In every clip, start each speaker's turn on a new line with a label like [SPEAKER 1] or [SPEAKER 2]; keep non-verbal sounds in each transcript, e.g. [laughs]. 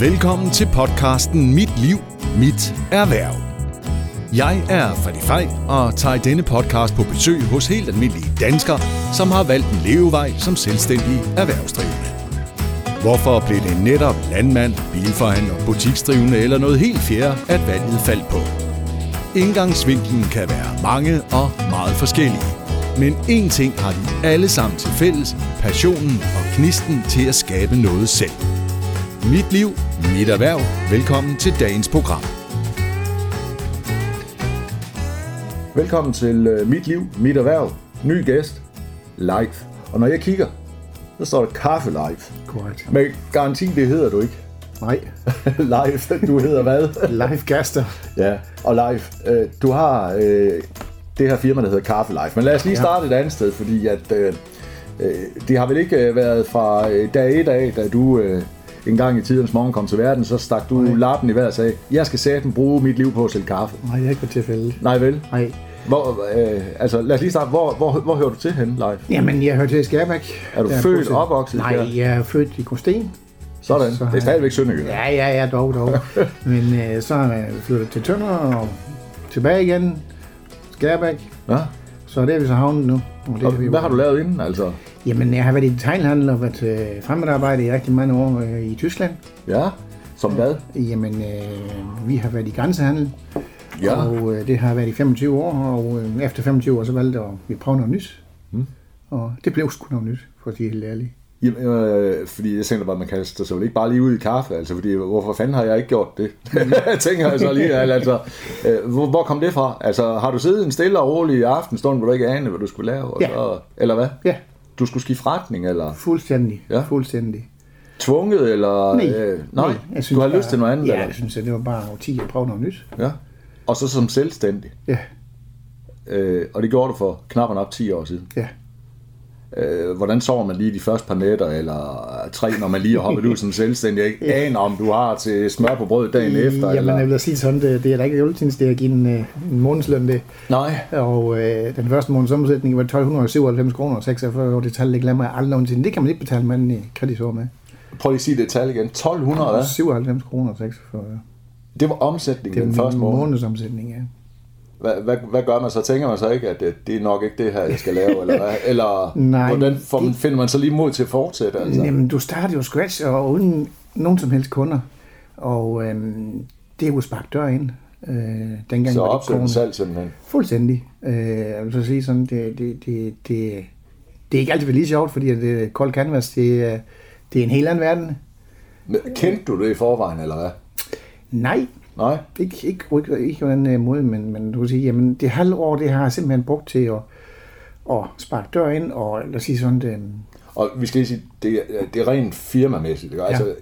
[SPEAKER 1] Velkommen til podcasten Mit Liv, Mit Erhverv. Jeg er Freddy Fej og tager i denne podcast på besøg hos helt almindelige danskere, som har valgt en levevej som selvstændige erhvervsdrivende. Hvorfor blev det netop landmand, bilforhandler, butiksdrivende eller noget helt fjerde, at valget faldt på? Indgangsvinklen kan være mange og meget forskellige. Men én ting har de alle sammen til fælles, passionen og knisten til at skabe noget selv. Mit liv, mit erhverv. Velkommen til dagens program. Velkommen til øh, Mit Liv, Mit Erhverv. Ny gæst, live. Og når jeg kigger, så står der kaffe live.
[SPEAKER 2] Korrekt.
[SPEAKER 1] Men garanti, det hedder du ikke. [laughs]
[SPEAKER 2] Nej,
[SPEAKER 1] live, du hedder hvad?
[SPEAKER 2] live gaster.
[SPEAKER 1] ja, og live. Øh, Du har øh, det her firma, der hedder Kaffe Live. Men lad os lige starte et andet sted, fordi at, øh, øh, det har vel ikke øh, været fra øh, dag et af, da du øh, en gang i tidens morgen kom til verden, så stak du Nej. lappen i vejret og sagde, jeg skal sætte bruge mit liv på at sælge kaffe.
[SPEAKER 2] Nej, det er ikke på tilfælde.
[SPEAKER 1] Nej vel?
[SPEAKER 2] Nej.
[SPEAKER 1] Hvor, øh, altså, lad os lige starte. Hvor, hvor, hvor hører du til henne, live?
[SPEAKER 2] Jamen, jeg hører til i Skærbæk.
[SPEAKER 1] Er du
[SPEAKER 2] Der
[SPEAKER 1] født,
[SPEAKER 2] bosæt-
[SPEAKER 1] opvokset i
[SPEAKER 2] Nej,
[SPEAKER 1] Skærbæk?
[SPEAKER 2] jeg er født i Grundsten.
[SPEAKER 1] Sådan.
[SPEAKER 2] Så
[SPEAKER 1] det
[SPEAKER 2] har
[SPEAKER 1] er
[SPEAKER 2] jeg-
[SPEAKER 1] stadigvæk Sønderjylland.
[SPEAKER 2] Ja, ja, ja,
[SPEAKER 1] [laughs]
[SPEAKER 2] dog, dog. Men øh, så er jeg flyttet til Tønder og tilbage igen. Skærbæk.
[SPEAKER 1] Ja.
[SPEAKER 2] Så der er vi så havnet nu. Og det
[SPEAKER 1] Og
[SPEAKER 2] er vi jo-
[SPEAKER 1] hvad har du lavet inden, altså?
[SPEAKER 2] Jamen, jeg har været i detailhandel og været øh, fremmedarbejder i rigtig mange år øh, i Tyskland.
[SPEAKER 1] Ja, som hvad?
[SPEAKER 2] Jamen, øh, vi har været i grænsehandel.
[SPEAKER 1] Ja.
[SPEAKER 2] Og øh, det har været i 25 år, og øh, efter 25 år, så valgte jeg, at vi prøver noget nyt. Mm. Og det blev sgu noget nyt, for at sige helt ærligt.
[SPEAKER 1] Jamen, øh, fordi jeg tænker bare, man kaster sig vel ikke bare lige ud i kaffe, altså, fordi hvorfor fanden har jeg ikke gjort det?
[SPEAKER 2] Mm.
[SPEAKER 1] tænker [laughs] jeg så lige, altså, øh, hvor, hvor kom det fra? Altså, har du siddet en stille og rolig aftenstund, hvor du ikke anede, hvad du skulle lave? Og
[SPEAKER 2] Ja.
[SPEAKER 1] Så, eller hvad?
[SPEAKER 2] Ja,
[SPEAKER 1] Du skulle skifte retning, eller
[SPEAKER 2] fuldstændig.
[SPEAKER 1] Ja.
[SPEAKER 2] Fuldstændig.
[SPEAKER 1] tvunget, eller... øh, nej,
[SPEAKER 2] jeg
[SPEAKER 1] du har
[SPEAKER 2] bare-
[SPEAKER 1] lyst til noget andet,
[SPEAKER 2] Ja,
[SPEAKER 1] eller?
[SPEAKER 2] jeg synes, at det var bare årti at prøve noget nyt.
[SPEAKER 1] Ja. Og så som selvstændig.
[SPEAKER 2] Ja,
[SPEAKER 1] Øh, og det gjorde du for knap og nok 10 år siden.
[SPEAKER 2] ja.
[SPEAKER 1] Øh, hvordan sover man lige de første par nætter, eller tre, når man lige har hoppet ud som selvstændig? Jeg ikke aner, om du har til smør på brød dagen efter,
[SPEAKER 2] Jamen,
[SPEAKER 1] eller...
[SPEAKER 2] jeg vil da sige det sådan, det, det er da ikke juletidens, det er at give en, øh, en månedsløn det.
[SPEAKER 1] Nej,
[SPEAKER 2] Og øh, den første måneds omsætning var 1297 kroner og 46 år. Det tal, det glemmer jeg aldrig nogensinde. Det kan man ikke betale manden i kreditår med.
[SPEAKER 1] Prøv lige at sige det tal igen. 1200, hvad?
[SPEAKER 2] 97 kroner og 46 år.
[SPEAKER 1] Det var omsætningen
[SPEAKER 2] Det
[SPEAKER 1] den
[SPEAKER 2] er
[SPEAKER 1] første
[SPEAKER 2] en
[SPEAKER 1] måned.
[SPEAKER 2] månedsomsætning, ja.
[SPEAKER 1] Hvad, hvad, hvad gør man så? Tænker man så ikke, at det, det er nok ikke det her, jeg skal lave? Eller, hvad? eller
[SPEAKER 2] Nej,
[SPEAKER 1] hvordan får, man- finder man så lige mod til at fortsætte? Altså?
[SPEAKER 2] Jamen, du starter jo scratch og uden nogen som helst kunder. Og øhm, det er jo sparket dør ind. Øh, dengang
[SPEAKER 1] Så
[SPEAKER 2] var det ikke corona.
[SPEAKER 1] opsætter salg simpelthen.
[SPEAKER 2] Fuldstændig. Øh, jeg vil så sige sådan, det, det, det, det, det er ikke altid lige sjovt, fordi at, øh, Cold Canvas, det, er- det er en helt anden verden.
[SPEAKER 1] Men Kendte du det i forvejen, eller hvad?
[SPEAKER 2] Nej,
[SPEAKER 1] Nej?
[SPEAKER 2] ikke, ikke, ikke, ikke på den øh, måde, men, men du kan sige, jamen det halve år, det har jeg simpelthen brugt til at, at sparke dør ind, og lad os sige sådan, det,
[SPEAKER 1] Og vi skal lige sige, det, er- det er rent firmamæssigt. Ikke? Altså,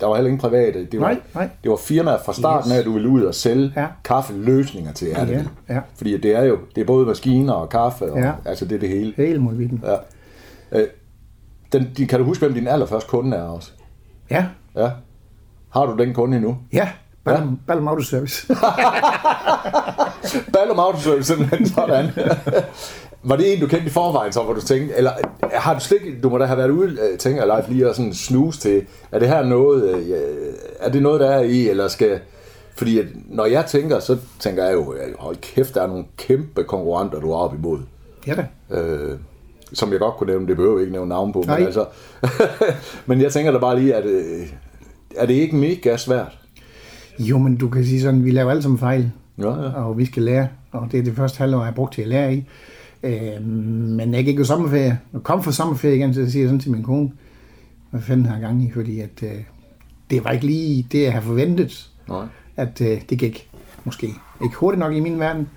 [SPEAKER 1] Der var heller ingen private. Det var,
[SPEAKER 2] Nej, nej.
[SPEAKER 1] Det var firmaer fra starten af, at du ville ud og sælge
[SPEAKER 2] Ja.
[SPEAKER 1] kaffeløsninger til jer.
[SPEAKER 2] Ja, ja.
[SPEAKER 1] Fordi det er jo det er både maskiner og kaffe, og,
[SPEAKER 2] Ja.
[SPEAKER 1] altså det er det hele.
[SPEAKER 2] det er helt modvilden.
[SPEAKER 1] Ja. Øh, den, de, kan du huske, hvem din allerførste kunde er også?
[SPEAKER 2] Ja,
[SPEAKER 1] Ja. Har du den kunde endnu?
[SPEAKER 2] ja, Ballum, ja. Ballum Auto Service.
[SPEAKER 1] Ballum Autoservice, simpelthen sådan. [laughs] var det en, du kendte i forvejen, så hvor du tænkte, eller øh, har du slet ikke, du må da have været ude, øh, tænker jeg, Leif, lige og sådan snuse til, er det her noget, øh, øh, er det noget, der er i, eller skal, fordi at, når jeg tænker, så tænker jeg jo, øh, hold kæft, der er nogle kæmpe konkurrenter, du er op imod.
[SPEAKER 2] [laughs] ja da.
[SPEAKER 1] øh, som jeg godt kunne nævne, det behøver vi ikke nævne navn på,
[SPEAKER 2] Nej.
[SPEAKER 1] men altså, [laughs] men jeg tænker da bare lige, at øh, er det ikke mega svært?
[SPEAKER 2] Jo, men du kan sige sådan, vi laver alle sammen fejl,
[SPEAKER 1] Ja, ja.
[SPEAKER 2] og vi skal lære, og det er det første halvår, jeg har brugt til at lære i. Øh, men jeg gik jo sommerferie, og kom fra sommerferie igen, så siger jeg sådan til min kone, hvad fanden har jeg gang i, fordi at, øh, det var ikke lige det, jeg havde forventet,
[SPEAKER 1] Nej.
[SPEAKER 2] at øh, det gik måske ikke hurtigt nok i min verden.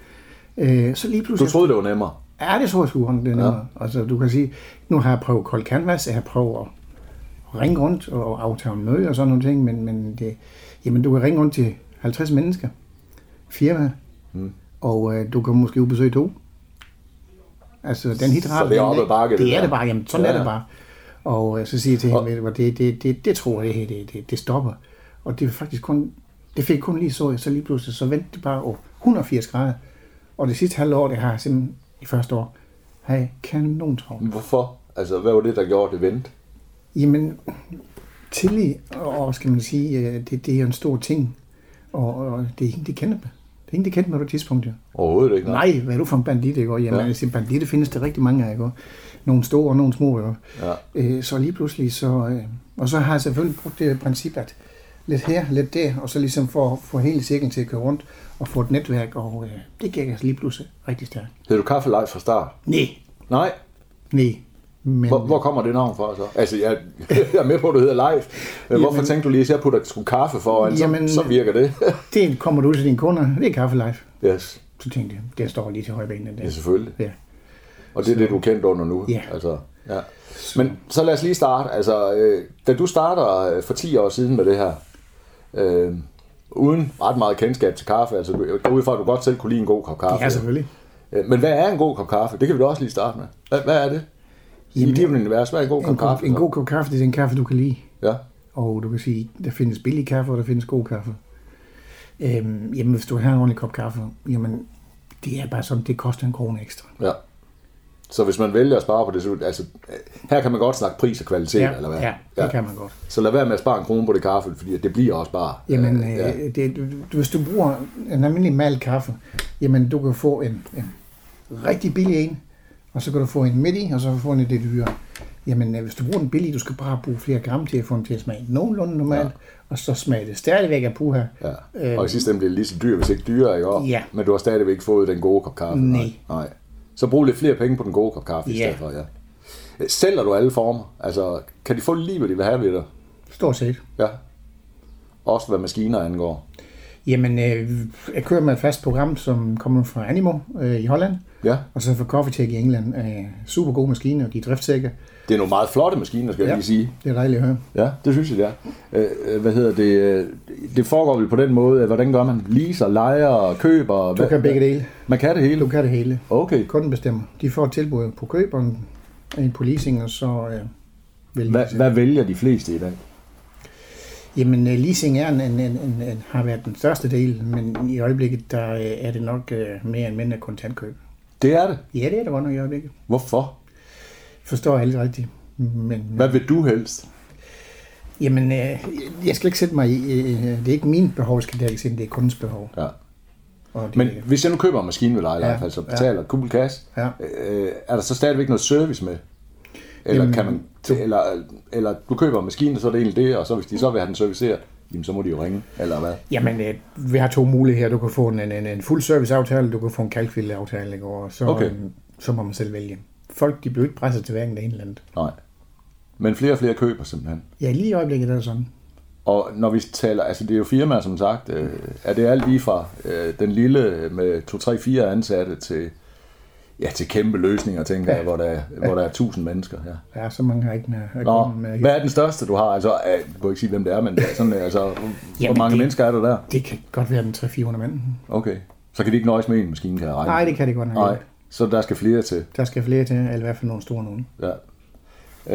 [SPEAKER 2] Øh, så lige
[SPEAKER 1] Du
[SPEAKER 2] pludselig,
[SPEAKER 1] troede, det var nemmere.
[SPEAKER 2] Ja, det tror jeg sgu, det er noget.
[SPEAKER 1] Ja.
[SPEAKER 2] Ja. Altså, du kan sige, nu har jeg prøvet Cold Canvas, jeg har prøvet at ringe rundt og aftale møde og sådan nogle ting, men, men det, jamen, du kan ringe rundt til 50 mennesker, firma, mm. og øh, du kan måske ud besøge to. Altså, den hit
[SPEAKER 1] Så det er op ad bakke, det
[SPEAKER 2] Det er
[SPEAKER 1] der.
[SPEAKER 2] det bare, jamen, sådan
[SPEAKER 1] Ja,
[SPEAKER 2] ja. er det
[SPEAKER 1] ja.
[SPEAKER 2] bare. Og øh, så siger jeg til
[SPEAKER 1] Og-
[SPEAKER 2] hende, ved du hvad, det, det, det, det tror jeg, det, her, det, det, det stopper. Og det er faktisk kun, det fik kun lige så, så lige pludselig, så vendte det bare over 180 grader. Og det sidste halve år, det har jeg simpelthen i første år, har jeg kanon travlt.
[SPEAKER 1] Hvorfor? Altså, hvad var det, der gjorde det vendt?
[SPEAKER 2] Jamen, tillid, og skal man sige, øh, det, det er en stor ting. Og, og det er ingen, de kender mig. Det er ingen, de kender mig på det tidspunkt, jo.
[SPEAKER 1] Overhovedet ikke.
[SPEAKER 2] Nej, hvad er du for en bandit, ikke? Og Jamen,
[SPEAKER 1] Ja.
[SPEAKER 2] ja. altså, banditte findes der rigtig mange af, ikke? Og Nogle store og nogle små, ikke?
[SPEAKER 1] Ja.
[SPEAKER 2] Øh, så lige pludselig, så... Øh, og så har jeg selvfølgelig brugt det princip, at lidt her, lidt der, og så ligesom for at få hele cirklen til at køre rundt, og få et netværk, og øh, det gik altså lige pludselig rigtig stærkt.
[SPEAKER 1] Hed du kaffelej fra start?
[SPEAKER 2] Nej,
[SPEAKER 1] Nej.
[SPEAKER 2] nej. Men,
[SPEAKER 1] Hvor, hvor kommer det navn fra så? Altså, jeg, jeg er med på, at du hedder Leif. Men Hvorfor
[SPEAKER 2] Jamen.
[SPEAKER 1] tænkte du lige, at jeg putter sgu kaffe foran?
[SPEAKER 2] Jamen.
[SPEAKER 1] så, så virker det. [laughs]
[SPEAKER 2] det kommer du ud til dine kunder, det er Kaffe Life.
[SPEAKER 1] yes,
[SPEAKER 2] Så tænkte jeg, det står lige til højre benet der.
[SPEAKER 1] ja, selvfølgelig.
[SPEAKER 2] Ja.
[SPEAKER 1] Og det er det, du er kendt under nu.
[SPEAKER 2] Ja.
[SPEAKER 1] Altså, ja. Men så lad os lige starte. Altså, øh, da du starter øh, for 10 år siden med det her, øh, uden ret meget kendskab til kaffe, altså du- jeg går ud fra, at du godt selv kunne lide en god kop kaffe.
[SPEAKER 2] ja, selvfølgelig.
[SPEAKER 1] Øh, Men hvad er en god kop kaffe? Det kan vi da også lige starte med. Hvad, hvad er det? I
[SPEAKER 2] Jamen,
[SPEAKER 1] dit univers, hvad er en god kop
[SPEAKER 2] En,
[SPEAKER 1] kaffe?
[SPEAKER 2] kaffe, en
[SPEAKER 1] så?
[SPEAKER 2] god kop kaffe, det er den kaffe, du kan lide.
[SPEAKER 1] Ja.
[SPEAKER 2] Og du kan sige, der findes billig kaffe, og der findes god kaffe. Øhm, jamen, hvis du har en ordentlig kop kaffe, jamen, det er bare sådan, det koster en krone ekstra.
[SPEAKER 1] Ja. Så hvis man vælger at spare på det, så, altså, øh, her kan man godt snakke pris og kvalitet, eller hvad?
[SPEAKER 2] ja, det kan man godt.
[SPEAKER 1] Så lad være med at spare en krone på det kaffe, fordi det bliver også bare...
[SPEAKER 2] Jamen,
[SPEAKER 1] øh,
[SPEAKER 2] øh,
[SPEAKER 1] ja.
[SPEAKER 2] det, du- du- hvis du bruger en almindelig mal kaffe, jamen, du kan få en, en rigtig billig en, og så kan du få en midt i, og så kan du få en lidt dyrere. Jamen, øh, hvis du bruger den billige, du skal bare bruge flere gram til at få den til at smage nogenlunde normalt,
[SPEAKER 1] Ja.
[SPEAKER 2] ja. og så smager det stadigvæk af puha. Øh,
[SPEAKER 1] ja. Og i sidste ende bliver det lige så dyrt, hvis ikke dyrere i år.
[SPEAKER 2] Ja.
[SPEAKER 1] Men du har stadigvæk fået den gode kop kaffe.
[SPEAKER 2] Nej.
[SPEAKER 1] Nej. Så brug lidt flere penge på den gode kop kaffe i
[SPEAKER 2] Ja.
[SPEAKER 1] stedet for, ja. Øh, Sælger du alle former? Altså, kan de få lige, hvad de vil have ved dig?
[SPEAKER 2] Stort set.
[SPEAKER 1] Ja. Også hvad maskiner angår.
[SPEAKER 2] Jamen, øh, jeg kører med et fast program, som kommer fra Animo øh, i Holland,
[SPEAKER 1] Ja.
[SPEAKER 2] og så fra Coffeetech i England. Øh, super gode maskiner, og de er driftsikre.
[SPEAKER 1] Det er nogle meget flotte maskiner, skal jeg
[SPEAKER 2] Ja.
[SPEAKER 1] lige sige.
[SPEAKER 2] Det er dejligt at høre.
[SPEAKER 1] Ja, det synes jeg, det er. Øh, øh, hvad hedder det? øh, Det foregår vel på den måde, at hvordan gør man? Leaser, lejer, køber?
[SPEAKER 2] Du kan begge dele.
[SPEAKER 1] Man kan det
[SPEAKER 2] Du
[SPEAKER 1] hele?
[SPEAKER 2] kan det hele.
[SPEAKER 1] Okay.
[SPEAKER 2] Kunden bestemmer. De får et tilbud på køb og en- en på leasing, og så øh, vælger de
[SPEAKER 1] Hvad,
[SPEAKER 2] selv.
[SPEAKER 1] hvad vælger de fleste i dag?
[SPEAKER 2] Jamen, øh, leasing er en, en, en, en, en, har været den største del, men i øjeblikket der øh, er det nok øh, mere end mindre kontantkøb.
[SPEAKER 1] Det er det.
[SPEAKER 2] Ja, det er det godt nok i øjeblikket.
[SPEAKER 1] Hvorfor?
[SPEAKER 2] Forstår jeg helt rigtigt. Men,
[SPEAKER 1] Hvad vil du helst?
[SPEAKER 2] Jamen, øh, jeg skal ikke sætte mig i, øh, det er ikke mine behov, der skal dækkes ind, det er kundens behov.
[SPEAKER 1] Ja.
[SPEAKER 2] Og det,
[SPEAKER 1] Men hvis jeg nu køber en maskine ved dig,
[SPEAKER 2] Ja,
[SPEAKER 1] ja, altså
[SPEAKER 2] ja.
[SPEAKER 1] betaler ja. cool cash,
[SPEAKER 2] Ja.
[SPEAKER 1] øh, er der så stadigvæk noget service med? Eller,
[SPEAKER 2] Jamen,
[SPEAKER 1] kan man,
[SPEAKER 2] du-
[SPEAKER 1] eller, øh, eller du køber maskinen, så er det egentlig det, og så hvis de så vil have den serviceret, jamen så må de jo ringe, eller hvad?
[SPEAKER 2] Jamen, øh, vi har to muligheder. Du kan få en, en, en fuld serviceaftale, du kan få en kalkvildeaftale, ikke? og så,
[SPEAKER 1] Okay.
[SPEAKER 2] øh, så må man selv vælge. Folk, de bliver ikke presset til hverken det ene eller andet.
[SPEAKER 1] Nej. Men flere og flere køber simpelthen.
[SPEAKER 2] Ja, lige i øjeblikket er det sådan.
[SPEAKER 1] Og når vi taler, altså det er jo firmaer som sagt, øh, er det alt lige fra øh, den lille med 2-3-4 ansatte til, ja, til kæmpe løsninger, tænker jeg, hvor der, hvor der er 1000 mennesker. Ja.
[SPEAKER 2] Der er så mange, der ikke er
[SPEAKER 1] Nå,
[SPEAKER 2] kommet med.
[SPEAKER 1] hvad er den største, du har? Altså, øh, jeg kan ikke sige, hvem det er, men det er sådan, altså, hvor
[SPEAKER 2] Jamen,
[SPEAKER 1] mange
[SPEAKER 2] det-
[SPEAKER 1] mennesker er der der?
[SPEAKER 2] Det kan godt være den 300-400 mand.
[SPEAKER 1] Okay, så kan de ikke nøjes med en maskine, kan jeg regne.
[SPEAKER 2] Nej, det kan det godt nok
[SPEAKER 1] Nej,
[SPEAKER 2] ikke.
[SPEAKER 1] så der skal flere til.
[SPEAKER 2] Der skal flere til, eller i hvert fald nogle store nogen.
[SPEAKER 1] Ja.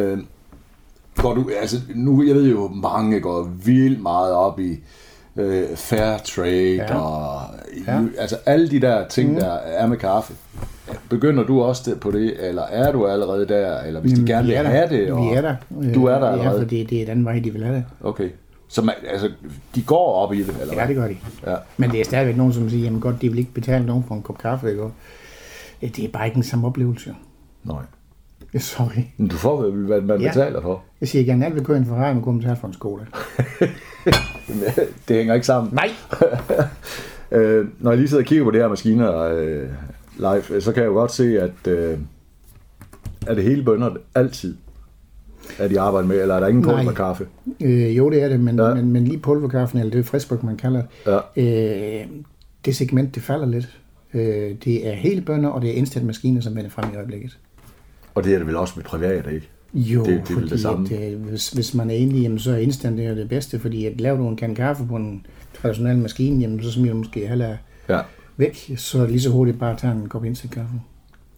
[SPEAKER 1] Øh, går du, altså, nu, jeg ved jo, mange går vildt meget op i øh, fair trade ja.
[SPEAKER 2] Ja.
[SPEAKER 1] og ja.
[SPEAKER 2] Ja.
[SPEAKER 1] altså alle de der ting, mm. der er med kaffe. Begynder du også det- på det, eller er du allerede der, eller hvis de gerne
[SPEAKER 2] vi
[SPEAKER 1] vil
[SPEAKER 2] er der.
[SPEAKER 1] have det? Og,
[SPEAKER 2] Vi er der. Øh,
[SPEAKER 1] Du er der
[SPEAKER 2] Ja,
[SPEAKER 1] allerede.
[SPEAKER 2] fordi det er den vej, de vil have det.
[SPEAKER 1] Okay. Så man, altså, de går op i det, eller
[SPEAKER 2] Ja,
[SPEAKER 1] hvad?
[SPEAKER 2] det gør de.
[SPEAKER 1] Ja.
[SPEAKER 2] Men det er stadigvæk nogen, som siger, jamen godt, de vil ikke betale nogen for en kop kaffe, ikke? Og Det er bare ikke den samme oplevelse.
[SPEAKER 1] Nej.
[SPEAKER 2] Sorry.
[SPEAKER 1] Men du får, vel, hvad man ja.
[SPEAKER 2] Ja.
[SPEAKER 1] betaler for. [laughs]
[SPEAKER 2] Jeg siger gerne, at vi kører en Ferrari, men kun betale for en skole.
[SPEAKER 1] det hænger ikke sammen.
[SPEAKER 2] Nej.
[SPEAKER 1] [laughs] øh, når jeg lige sidder og kigger på det her maskiner øh, live, så kan jeg jo godt se, at, øh, er det hele bønder altid, at de arbejder med, eller er der ingen
[SPEAKER 2] Nej.
[SPEAKER 1] pulver kaffe?
[SPEAKER 2] Øh, jo, det er det, men,
[SPEAKER 1] Ja.
[SPEAKER 2] ja. men, men lige pulverkaffen, eller det er friskbrug, man kalder det,
[SPEAKER 1] Ja.
[SPEAKER 2] øh, det segment, det falder lidt. Øh, det er hele bønder, og det er instant maskiner, som vender frem i øjeblikket.
[SPEAKER 1] Og det er det vel også med privat, ikke?
[SPEAKER 2] Jo,
[SPEAKER 1] Det- det er vel
[SPEAKER 2] fordi
[SPEAKER 1] det samme.
[SPEAKER 2] At, øh, hvis, hvis man er enig, jamen, så er instant det, er det bedste, fordi at laver du en kan kaffe på en traditionel maskine, jamen, så smider du måske heller
[SPEAKER 1] Ja.
[SPEAKER 2] væk, så lige så hurtigt bare tager en kop instant kaffe.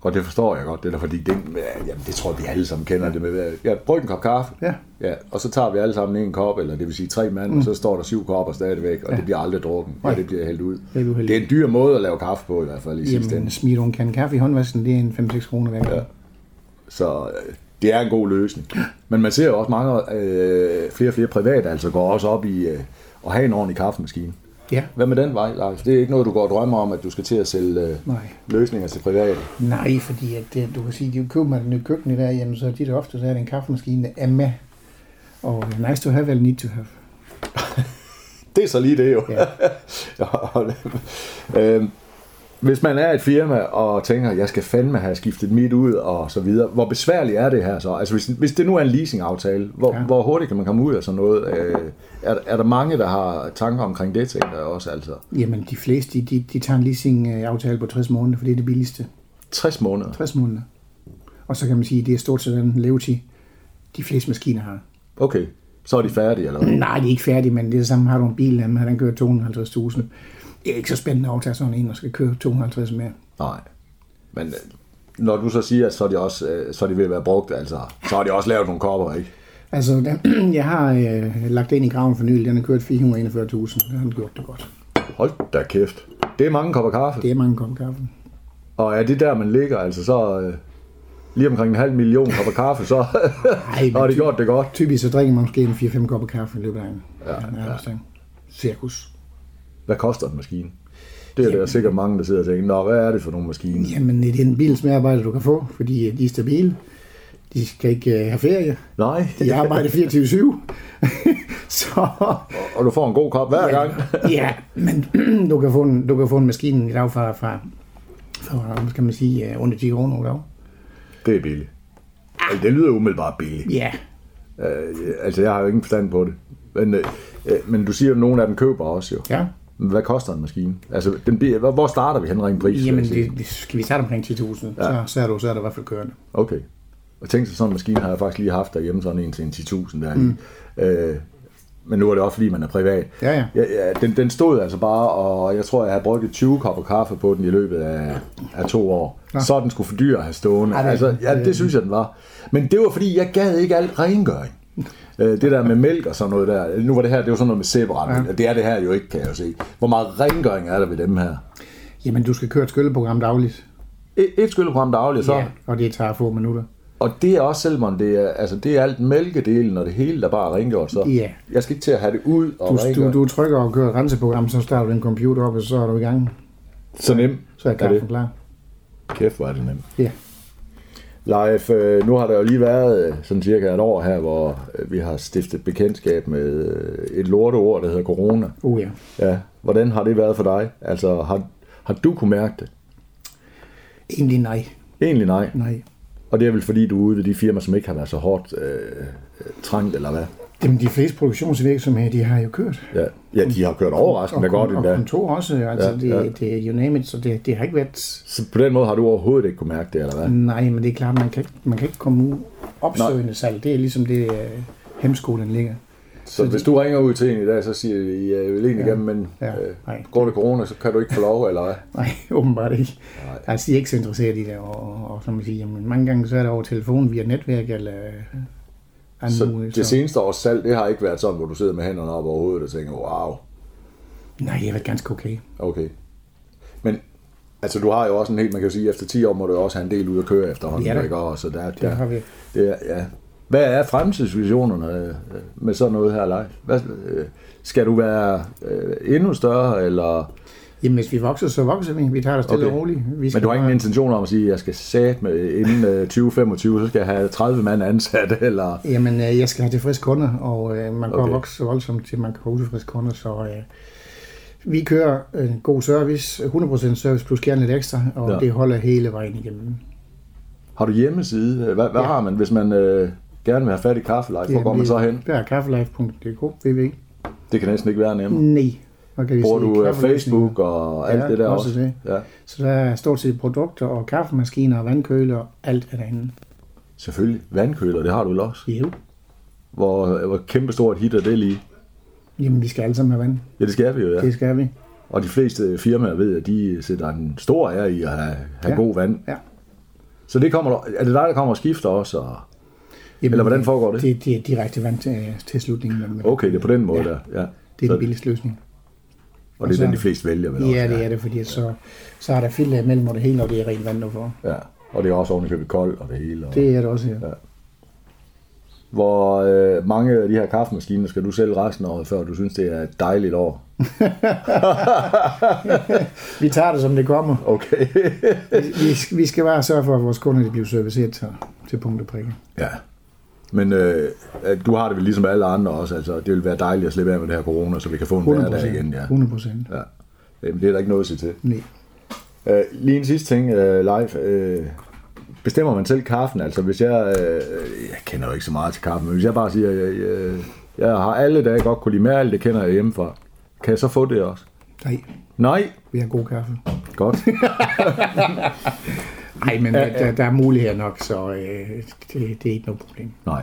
[SPEAKER 1] Og det forstår jeg godt, det der, fordi det, ja, jamen, det tror jeg, vi alle sammen kender det med. Ja, brug en kop kaffe,
[SPEAKER 2] Ja.
[SPEAKER 1] Ja, og så tager vi alle sammen en kop, eller det vil sige tre mand, mm. og så står der syv kopper stadigvæk, og ja. det bliver aldrig drukken, og
[SPEAKER 2] Nej.
[SPEAKER 1] det bliver hældt ud.
[SPEAKER 2] Det er du heldig.
[SPEAKER 1] det er en dyr måde at lave kaffe på i hvert fald i sidste ende.
[SPEAKER 2] Jamen, smider du en kan kaffe i håndvasken, det er en 5-6 kroner værd.
[SPEAKER 1] Så øh, det er en god løsning. Men man ser jo også mange, øh, flere og flere private, altså går også op i øh, at have en ordentlig kaffemaskine.
[SPEAKER 2] Ja.
[SPEAKER 1] Hvad med den vej, Lars? Det er ikke noget, du går og drømmer om, at du skal til at sælge øh,
[SPEAKER 2] Nej.
[SPEAKER 1] løsninger til private.
[SPEAKER 2] Nej, fordi at det, du kan sige, de køber man et nyt køkken i dag, jamen, så tit og ofte så er det en kaffemaskine, der er med. Og øh, nice to have, eller need to have.
[SPEAKER 1] Det er så lige det jo. [laughs]
[SPEAKER 2] Ja.
[SPEAKER 1] øhm, hvis man er et firma og tænker, jeg skal fandme have skiftet mit ud og så videre, hvor besværligt er det her så? Altså hvis, hvis det nu er en leasingaftale, hvor, ja.
[SPEAKER 2] Ja.
[SPEAKER 1] hvor hurtigt kan man komme ud af sådan noget? Øh, er, er der mange, der har tanker omkring det, tænker jeg også altså.
[SPEAKER 2] Jamen, de fleste, de, de, de tager en leasing-aftale på 60 måneder, for det er det billigste.
[SPEAKER 1] 60 måneder.
[SPEAKER 2] 60 måneder. Og så kan man sige, at det er stort set den levetid, de fleste maskiner har.
[SPEAKER 1] Okay, så er de færdige eller hvad?
[SPEAKER 2] Nej, de er ikke færdige, men det er det samme, har du en bil, jamen, den kører 250.000. Det er ikke så spændende at overtage sådan en, og skal køre 250 mere.
[SPEAKER 1] Nej. Men øh, når du så siger, at så er de, også, øh, så er de ved at være brugt, altså, så har de også lavet nogle kopper, ikke?
[SPEAKER 2] Altså, [clears throat] den, jeg har øh, lagt den i graven for nylig, den har kørt 441.000, den har den gjort det godt.
[SPEAKER 1] Hold da kæft. Det er mange kopper kaffe.
[SPEAKER 2] Det er mange kopper kaffe.
[SPEAKER 1] Og er det der, man ligger, altså så øh, lige omkring en halv million kopper kaffe,
[SPEAKER 2] [laughs]
[SPEAKER 1] så
[SPEAKER 2] men
[SPEAKER 1] har det
[SPEAKER 2] ty-
[SPEAKER 1] gjort det godt.
[SPEAKER 2] Typisk så drikker man måske en 4-5 kopper kaffe i løbet af en ja, ja. cirkus.
[SPEAKER 1] Hvad koster en maskine? Det er der sikkert mange, der sidder og tænker, nå, hvad er det for nogle maskiner?
[SPEAKER 2] Jamen, det er den bilens medarbejder, du kan få, fordi øh, de er stabile. De skal ikke øh, have ferie.
[SPEAKER 1] Nej,
[SPEAKER 2] De arbejder 24-7. [laughs] så
[SPEAKER 1] og du får en god kop hver gang.
[SPEAKER 2] ja, men [clears throat] du kan få en, du kan få en maskine i dag fra, fra, fra hvad skal man sige, øh, under 10 kroner i dag.
[SPEAKER 1] Det er billigt. Altså, det lyder umiddelbart billigt.
[SPEAKER 2] Ja,
[SPEAKER 1] Øh, altså, jeg har jo ingen forstand på det. Men, øh, øh, men du siger, at nogle af dem køber også jo.
[SPEAKER 2] ja.
[SPEAKER 1] Men Hvad koster en maskine? Altså, den bliver, hvor- hvor starter vi hen rent pris? Altså, vil jeg
[SPEAKER 2] Jamen,
[SPEAKER 1] sige?
[SPEAKER 2] det, det, skal vi tage det omkring 10.000, ja. så, så, er du, så er der i hvert fald kørende.
[SPEAKER 1] Okay. Og tænk sig, sådan en maskine har jeg faktisk lige haft derhjemme, sådan en til en 10.000 der. Mm. Øh, men nu er det også, fordi man er privat.
[SPEAKER 2] Ja, ja.
[SPEAKER 1] ja, ja den, den stod altså bare, og jeg tror, jeg har brugt 20 kopper kaffe på den i løbet af, af to år. Ja. Så er den skulle for dyr at have stående.
[SPEAKER 2] Ej, det-
[SPEAKER 1] altså, ja, det synes jeg, den var. Men det var, fordi jeg gad ikke alt
[SPEAKER 2] [laughs]
[SPEAKER 1] rengøring. Øh, det der med mælk og sådan noget der. Nu var det her, det var sådan noget med sæberetten. Ja. Det er det her jo ikke, kan jeg jo se. Hvor meget rengøring er der ved dem her?
[SPEAKER 2] Jamen, du skal køre et skylleprogram dagligt.
[SPEAKER 1] Et, et skylleprogram dagligt, så
[SPEAKER 2] Ja, og det tager få minutter.
[SPEAKER 1] Og det er også, selvom det er, altså det er alt mælkedelen og det hele, der bare er rengjort, så
[SPEAKER 2] Ja.
[SPEAKER 1] jeg skal ikke til at have det ud og
[SPEAKER 2] Du,
[SPEAKER 1] rengøre.
[SPEAKER 2] du, du trykker og kører et renseprogram, så starter du en computer op, og så er du i gang.
[SPEAKER 1] så nemt.
[SPEAKER 2] Så er kaffen klar.
[SPEAKER 1] Kæft, hvor er det nemt.
[SPEAKER 2] Ja.
[SPEAKER 1] Leif, øh, nu har der jo lige været øh, sådan cirka et år her, hvor øh, vi har stiftet bekendtskab med øh, et lorteord, der hedder corona.
[SPEAKER 2] Oh ja.
[SPEAKER 1] Ja, hvordan har det været for dig? Altså, har, har du kunne mærke det?
[SPEAKER 2] Egentlig nej.
[SPEAKER 1] Egentlig nej.
[SPEAKER 2] Nej.
[SPEAKER 1] Og det er vel fordi, du er ude ved de firmaer, som ikke har været så hårdt øh, øh, trængt, eller hvad?
[SPEAKER 2] Jamen, de fleste produktionsvirksomheder, de har jo kørt.
[SPEAKER 1] Ja, ja de har kørt overraskende
[SPEAKER 2] og,
[SPEAKER 1] godt
[SPEAKER 2] og, og
[SPEAKER 1] endda.
[SPEAKER 2] kontor også. Altså,
[SPEAKER 1] Ja,
[SPEAKER 2] ja, det,
[SPEAKER 1] ja.
[SPEAKER 2] ja. det, you name it, så det, det har ikke været...
[SPEAKER 1] Så på den måde har du overhovedet ikke kunne mærke det, eller hvad?
[SPEAKER 2] Nej, men det er klart, man kan, ikke- man kan ikke komme ud opsøgende salg. Det er ligesom det, øh, hemskolen ligger.
[SPEAKER 1] Så hvis du ringer ud til en i dag, så siger de, at jeg vil egentlig ja. gerne, men
[SPEAKER 2] Ja.
[SPEAKER 1] øh,
[SPEAKER 2] Nej.
[SPEAKER 1] går det corona, så kan du ikke få lov, eller hvad?
[SPEAKER 2] Nej, [laughs] åbenbart ikke. Altså, de er ikke så interesseret i det, og, og, og som man siger, jamen, mange gange så er det over telefon via netværk, eller... øh,
[SPEAKER 1] øh,
[SPEAKER 2] andre
[SPEAKER 1] Så
[SPEAKER 2] mulige-
[SPEAKER 1] det seneste års salg, det har ikke været sådan, hvor du sidder med hænderne op over hovedet og tænker, wow,
[SPEAKER 2] Nej, jeg har været ganske okay.
[SPEAKER 1] okay. Men altså, du har jo også en helt, man kan jo sige, efter 10 år må du jo også have en del ud at køre efterhånden,
[SPEAKER 2] Ja da.
[SPEAKER 1] ikke? Og så der, det
[SPEAKER 2] har vi.
[SPEAKER 1] Det er, ja. Hvad er fremtidsvisionerne øh, med sådan noget her, Leif? Hvad, øh, skal du være øh, endnu større, eller...
[SPEAKER 2] Jamen, hvis vi vokser, så vokser vi. Vi tager det stille okay. og roligt. Vi
[SPEAKER 1] Men du har ingen
[SPEAKER 2] bare-
[SPEAKER 1] intention om at sige, at jeg skal sætte med inden øh, 2025, så skal jeg have 30 mand ansat, [laughs] eller...
[SPEAKER 2] Jamen, øh, jeg skal have tilfredse kunder, og øh, man kan
[SPEAKER 1] Okay.
[SPEAKER 2] okay. vokse voldsomt til, man kan få utilfredse kunder, så øh, vi kører en god service, 100% service plus gerne lidt ekstra, og
[SPEAKER 1] Ja.
[SPEAKER 2] ja. det holder hele vejen igennem.
[SPEAKER 1] Har du hjemmeside? Hvad, hvad ja.
[SPEAKER 2] Ja.
[SPEAKER 1] har man, hvis man øh, gerne vil have fat i kaffeleje? Hvor går man så hen?
[SPEAKER 2] Der er kaffelife.dk, VV.
[SPEAKER 1] Det kan næsten ikke være nemmere.
[SPEAKER 2] Nej. Hvad kan vi
[SPEAKER 1] Bruger
[SPEAKER 2] sige?
[SPEAKER 1] du øh,
[SPEAKER 2] Kaffeløsninger.
[SPEAKER 1] Facebook og alt
[SPEAKER 2] Ja,
[SPEAKER 1] det der
[SPEAKER 2] også
[SPEAKER 1] også?
[SPEAKER 2] det.
[SPEAKER 1] Ja,
[SPEAKER 2] Så der er stort set produkter og kaffemaskiner og vandkøler og alt det andet.
[SPEAKER 1] selvfølgelig. Vandkøler, det har du vel også.
[SPEAKER 2] Jo.
[SPEAKER 1] Hvor, hvor kæmpestort hit er det lige?
[SPEAKER 2] Jamen, vi skal alle sammen have vand.
[SPEAKER 1] Ja, det skal vi jo,
[SPEAKER 2] Ja.
[SPEAKER 1] ja.
[SPEAKER 2] Det skal vi.
[SPEAKER 1] Og de fleste øh, firmaer ved, at de sætter en stor ære i at have, have ja.
[SPEAKER 2] Ja.
[SPEAKER 1] god vand.
[SPEAKER 2] Ja.
[SPEAKER 1] Så det kommer, der- er det dig, der kommer og skifter også? Og...
[SPEAKER 2] Jamen,
[SPEAKER 1] Eller hvordan foregår det?
[SPEAKER 2] Det, det er direkte vand til, til slutningen. men-
[SPEAKER 1] Okay, det er på den måde
[SPEAKER 2] Ja.
[SPEAKER 1] der. Ja.
[SPEAKER 2] Det er
[SPEAKER 1] Så-
[SPEAKER 2] den billigste løsning.
[SPEAKER 1] Og det er
[SPEAKER 2] Og så-
[SPEAKER 1] den, de fleste vælger vel også.
[SPEAKER 2] Altså- Ja, det er det, fordi så, så er der filter imellem og det hele, og det er rent vand for.
[SPEAKER 1] Ja, og det er også oven i købet koldt og det hele. Og...
[SPEAKER 2] Det er det også her.
[SPEAKER 1] Ja. hvor øh, mange af de her kaffemaskiner skal du sælge resten af året, før du synes, det er et dejligt år.
[SPEAKER 2] Vi tager det, som det kommer.
[SPEAKER 1] Okay.
[SPEAKER 2] Vi, vi skal bare sørge for, at vores kunder de bliver serviceret til, til punkt og prikke.
[SPEAKER 1] [laughs] ja. Men øh, at du har det vel ligesom alle andre også, altså det vil være dejligt at slippe af med det her corona, så vi kan få en
[SPEAKER 2] 100
[SPEAKER 1] hverdag
[SPEAKER 2] procent.
[SPEAKER 1] igen. Ja.
[SPEAKER 2] 100 procent.
[SPEAKER 1] ja. Jamen, det er der ikke noget at sige til.
[SPEAKER 2] Nej.
[SPEAKER 1] Øh, lige en sidste ting, øh, live. Øh, bestemmer man selv kaffen? Altså, hvis jeg... Øh, jeg kender jo ikke så meget til kaffen, men hvis jeg bare siger, jeg, jeg, jeg har alle dage godt kunne lide mærke, det kender jeg hjemmefra. Kan jeg så få det også?
[SPEAKER 2] Nej,
[SPEAKER 1] Nej.
[SPEAKER 2] vi har god kaffe.
[SPEAKER 1] Godt.
[SPEAKER 2] Nej, men ja, ja. Der, der er muligheder nok, så øh, det, det er ikke noget problem.
[SPEAKER 1] Nej.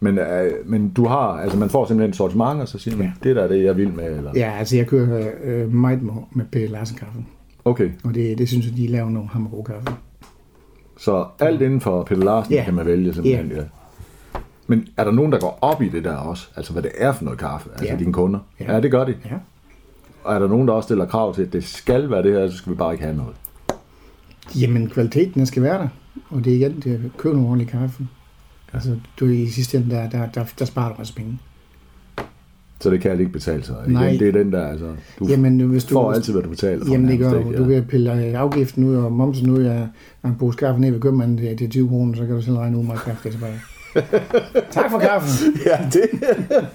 [SPEAKER 1] Men, øh, men du har... Altså, man får simpelthen et sortiment, og så siger man, det der er det, jeg vil med. Eller?
[SPEAKER 2] Ja, altså jeg kører øh, meget med- med P. Larsen kaffe,
[SPEAKER 1] Okay.
[SPEAKER 2] og det, det synes jeg, de laver nogle hammer god kaffe.
[SPEAKER 1] Så alt inden for Peter Larsen
[SPEAKER 2] Ja.
[SPEAKER 1] kan man vælge simpelthen.
[SPEAKER 2] Ja.
[SPEAKER 1] Ja. Men er der nogen, der går op i det der også? Altså, hvad det er for noget kaffe? Altså,
[SPEAKER 2] Ja.
[SPEAKER 1] dine kunder?
[SPEAKER 2] Ja.
[SPEAKER 1] Ja, det gør de.
[SPEAKER 2] Ja.
[SPEAKER 1] Og er der nogen, der også stiller krav til, at det skal være det her, så skal vi bare ikke have noget?
[SPEAKER 2] Jamen, kvaliteten den skal være der, og det er igen, det er køb nogle ordentlige kaffe. Altså, du i sidste ende, der, der, der, der sparer du også penge.
[SPEAKER 1] Så det kan jeg ikke betale sig. Igen,
[SPEAKER 2] Nej.
[SPEAKER 1] det er den der, altså, du Jamen,
[SPEAKER 2] Jamen, øh, hvis du...
[SPEAKER 1] får altid, hvad du betaler for.
[SPEAKER 2] Jamen, det gør
[SPEAKER 1] nærmest,
[SPEAKER 2] du.
[SPEAKER 1] ikke?
[SPEAKER 2] Du kan pille øh, afgiften ud og momsen ud af af en pose kaffe ned ved købmanden til, til 20 kroner, så kan du selv regne ud, hvor meget kaffe det er
[SPEAKER 1] [laughs]
[SPEAKER 2] tilbage. tak for kaffen.
[SPEAKER 1] [laughs] Ja, det.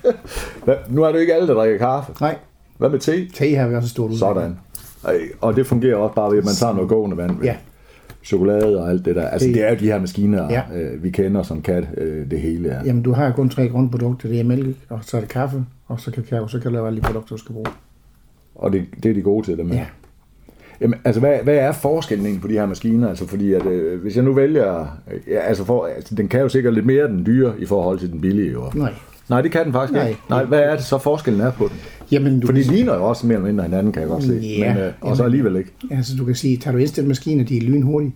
[SPEAKER 1] [laughs] Hvad- nu er det jo ikke alle, der drikker kaffe.
[SPEAKER 2] Nej,
[SPEAKER 1] Hvad med te?
[SPEAKER 2] te har vi også et stort udvalg.
[SPEAKER 1] Sådan. Ej, Og det fungerer også bare ved, at man tager noget gående vand.
[SPEAKER 2] Ja,
[SPEAKER 1] Chokolade og alt det der. Altså,
[SPEAKER 2] Det-
[SPEAKER 1] det er jo de her maskiner,
[SPEAKER 2] Ja.
[SPEAKER 1] øh, vi kender som kat, øh, det hele er.
[SPEAKER 2] jamen du har kun tre grundprodukter. Det er mælk, og så er det kaffe, og så kakao. Så kan du lave alle de produkter, du skal bruge.
[SPEAKER 1] Og det, det er de gode til, dem her.
[SPEAKER 2] Ja.
[SPEAKER 1] Jamen, altså, hvad, hvad er forskellen egentlig på de her maskiner? Altså, fordi at, øh, hvis jeg nu vælger... Øh, ja, altså, for, altså, den kan jo sikkert lidt mere den dyre i forhold til den billige, jo.
[SPEAKER 2] Nej.
[SPEAKER 1] Nej, det kan den faktisk
[SPEAKER 2] Nej.
[SPEAKER 1] ikke. Nej, hvad er det så forskellen er på den?
[SPEAKER 2] Jamen, du
[SPEAKER 1] For de
[SPEAKER 2] kan,
[SPEAKER 1] ligner jo også mere eller mindre hinanden, kan jeg godt se.
[SPEAKER 2] Ja.
[SPEAKER 1] Men, øh, og så alligevel ikke.
[SPEAKER 2] altså, du kan sige, tager du instant maskiner, de er lynhurtige.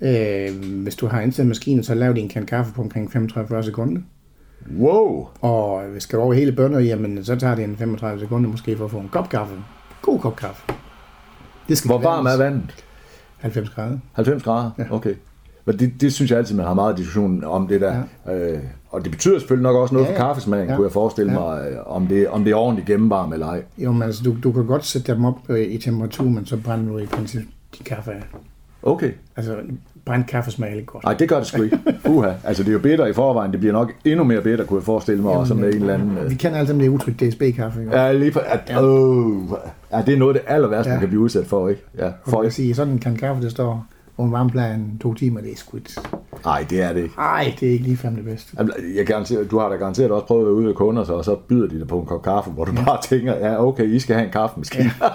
[SPEAKER 2] Øh, hvis du har instant maskiner, så laver de en kan kaffe på omkring 35-40 sekunder.
[SPEAKER 1] Wow!
[SPEAKER 2] Og hvis skal du over hele bønder, jamen så tager det en 35 sekunder måske for at få en kop kaffe. God kop kaffe. Det skal
[SPEAKER 1] Hvor varm er
[SPEAKER 2] vandet?
[SPEAKER 1] vandet?
[SPEAKER 2] 90 grader.
[SPEAKER 1] 90 grader? Ja. Okay. Men det, det synes jeg altid, man har meget diskussion om det der. Ja. Øh, og det betyder selvfølgelig nok også noget
[SPEAKER 2] Ja,
[SPEAKER 1] ja,
[SPEAKER 2] ja.
[SPEAKER 1] for kaffesmagen,
[SPEAKER 2] Ja.
[SPEAKER 1] ja. kunne jeg forestille
[SPEAKER 2] Ja.
[SPEAKER 1] ja. mig, øh, om det, om det er ordentligt gennemvarm eller ej.
[SPEAKER 2] Jo, men altså, du, du kan godt sætte dem op øh, i temperatur, men så brænder du i princippet din kaffe af.
[SPEAKER 1] Okay.
[SPEAKER 2] Altså, brændt kaffe smager lidt godt.
[SPEAKER 1] Nej, det gør det sgu [laughs] ikke. Uha. Altså, det er jo bitter i forvejen. Det bliver nok endnu mere bitter, kunne jeg forestille mig, også med en eller anden... Øh,
[SPEAKER 2] Vi kender alle sammen det udtryk DSB-kaffe. Ja,
[SPEAKER 1] Ja, lige på, at, øh, ja, det er noget af det aller værste,
[SPEAKER 2] Ja.
[SPEAKER 1] man kan blive udsat for, ikke? Ja,
[SPEAKER 2] for
[SPEAKER 1] for,
[SPEAKER 2] at sige, sådan en kan kaffe, der står over en varmeplan to timer, det er sgu et...
[SPEAKER 1] nej, det er det ikke.
[SPEAKER 2] Ej, det er ikke ligefrem det bedste.
[SPEAKER 1] Jamen, Jeg garanterer, du har da garanteret også prøvet at være ude ved kunder, så, og så byder de dig på en kop kaffe, hvor du bare tænker, ja, okay, I skal have en kaffe måske. Ja.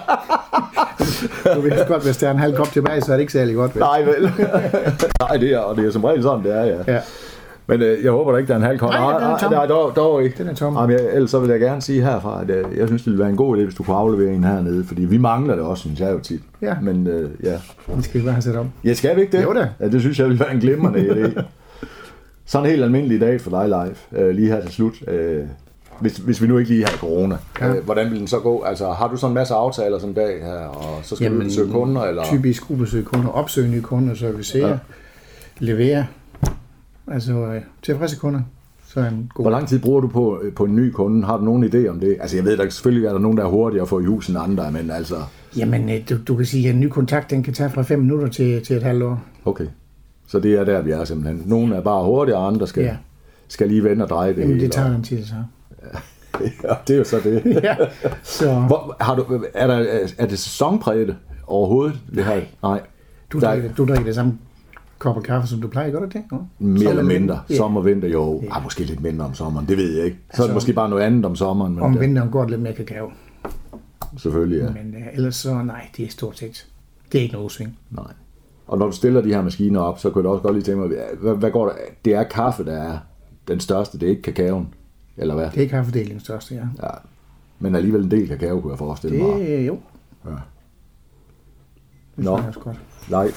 [SPEAKER 2] Du ved også godt, hvis der er en halv kop tilbage, så er det ikke særlig godt. Vel?
[SPEAKER 1] Nej, vel? [laughs] nej, det er, og det er som regel sådan, det er, ja.
[SPEAKER 2] Ja.
[SPEAKER 1] Men øh, jeg håber da ikke, der er en halv kop.
[SPEAKER 2] Nej, den er tom.
[SPEAKER 1] nej, dog, dog ikke.
[SPEAKER 2] Den er tom.
[SPEAKER 1] Jamen, jeg, ellers så vil jeg gerne sige herfra, at øh, jeg synes, det ville være en god idé, hvis du kunne aflevere en hernede, fordi vi mangler det også, synes jeg jo tit.
[SPEAKER 2] Ja.
[SPEAKER 1] Men øh, ja.
[SPEAKER 2] Det skal vi bare have sat op.
[SPEAKER 1] Jeg skal vi ikke det?
[SPEAKER 2] Jo da.
[SPEAKER 1] Ja, det synes jeg ville være en glimrende idé.
[SPEAKER 2] [laughs]
[SPEAKER 1] Sådan en helt almindelig dag for dig live, øh, lige her til slut. Øh, hvis, hvis vi nu ikke lige har corona,
[SPEAKER 2] Ja.
[SPEAKER 1] ja. øh, hvordan vil den så gå? Altså, har du sådan en masse aftaler som dag her, og så skal Jamen,
[SPEAKER 2] Jamen,
[SPEAKER 1] du søge kunder? Eller?
[SPEAKER 2] Typisk ubesøge kunder, opsøge nye kunder, servicere, ja.
[SPEAKER 1] Ja.
[SPEAKER 2] levere. Altså øh, tilfredse kunder. Så er en god...
[SPEAKER 1] Hvor lang tid bruger du på, øh, på en ny kunde? Har du nogen idé om det? Altså, jeg ved, der selvfølgelig er der nogen, der er hurtigere at få i hus end andre, men altså,
[SPEAKER 2] Jamen, øh, du, du kan sige, at en ny kontakt, den kan tage fra 5 minutter til, til et halvt år.
[SPEAKER 1] okay. Så det er der, vi er simpelthen. Nogle er bare hurtigere, og andre skal,
[SPEAKER 2] Ja.
[SPEAKER 1] ja. skal lige vende og dreje det
[SPEAKER 2] Jamen,
[SPEAKER 1] hele.
[SPEAKER 2] det tager den tid, så.
[SPEAKER 1] og- [laughs] ja, det er jo så det.
[SPEAKER 2] [laughs] Ja, så
[SPEAKER 1] Hvor, har du, er, der, er det sæsonpræget overhovedet? Det her? Nej.
[SPEAKER 2] du
[SPEAKER 1] der-
[SPEAKER 2] drikker, du drikker det samme kop af kaffe, som du plejer, gør du det? Ja.
[SPEAKER 1] Mere
[SPEAKER 2] Sommer-
[SPEAKER 1] eller mindre.
[SPEAKER 2] Ja.
[SPEAKER 1] Sommer, vinter, jo. Ah, måske lidt mindre om sommeren, det ved jeg ikke. Så altså, er det måske bare noget andet om sommeren, men
[SPEAKER 2] Om
[SPEAKER 1] det-
[SPEAKER 2] vinteren går det lidt mere kakao.
[SPEAKER 1] selvfølgelig, ja.
[SPEAKER 2] Men øh, ellers så, nej, det er stort set. Det er ikke noget udsving.
[SPEAKER 1] Nej. Og når du stiller de her maskiner op, så kunne jeg da også godt lige tænke mig, hvad, hvad går der? Det er kaffe, der er den største, det er ikke kakaoen, eller hvad?
[SPEAKER 2] Det er ikke kaffedelingens største, ja.
[SPEAKER 1] Ja. Men alligevel en del kakao, kunne jeg forestille mig.
[SPEAKER 2] Det er jo.
[SPEAKER 1] Ja.
[SPEAKER 2] Det
[SPEAKER 1] Nå.
[SPEAKER 2] smager også godt.
[SPEAKER 1] Nej.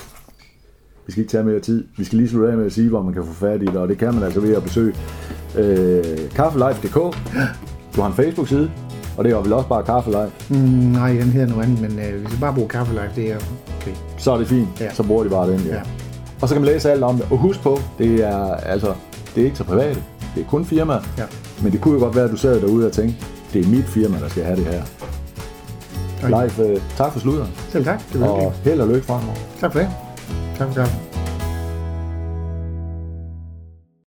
[SPEAKER 1] Vi skal ikke tage mere tid. Vi skal lige slutte af med at sige, hvor man kan få fat i det, og det kan man altså ved at besøge øh, kaffelife.dk. Du har en Facebook-side, og det er jo vel også bare kaffelife.
[SPEAKER 2] Mm, nej, den hedder noget andet, men øh, hvis vi bare bruger kaffe live, det er okay.
[SPEAKER 1] så er det fint.
[SPEAKER 2] Ja.
[SPEAKER 1] Ja. Så bruger de bare den, ja.
[SPEAKER 2] Ja.
[SPEAKER 1] ja. Og så kan man læse alt om det. Og husk på, det er, altså, det er ikke så privat. Det er kun firmaer.
[SPEAKER 2] Ja.
[SPEAKER 1] Men det kunne jo godt være, at du sad derude og tænkte, det er mit firma, der skal have det her.
[SPEAKER 2] Tak.
[SPEAKER 1] Leif, øh, tak for sludder,
[SPEAKER 2] Selv tak. Det var hyggeligt.
[SPEAKER 1] og held og lykke fremover.
[SPEAKER 2] Tak for det. Tak for kaffen.